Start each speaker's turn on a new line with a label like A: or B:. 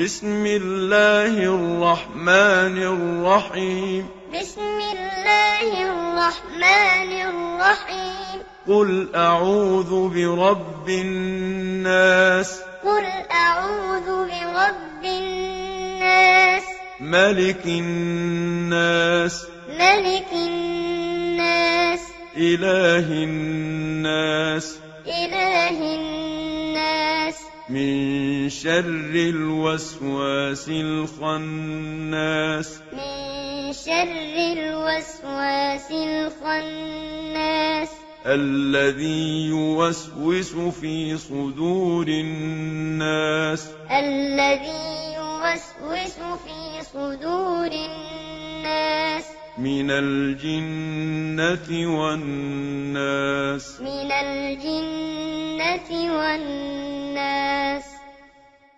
A: بِسْمِ اللَّهِ الرَّحْمَٰنِ الرَّحِيمِ
B: بسم الله الرحمن الرحيم
A: قُلْ أَعُوذُ بِرَبِّ النَّاسِ
B: قل أعوذ برب الناس
A: مَلِكِ النَّاسِ
B: ملك الناس
A: إِلَٰهِ النَّاسِ
B: إله الناس
A: من شر الوسواس الخناس
B: من شر الوسواس الخناس
A: الذي يوسوس في صدور الناس
B: الذي يوسوس في صدور الناس
A: من الجنة والناس
B: من الجنة والناس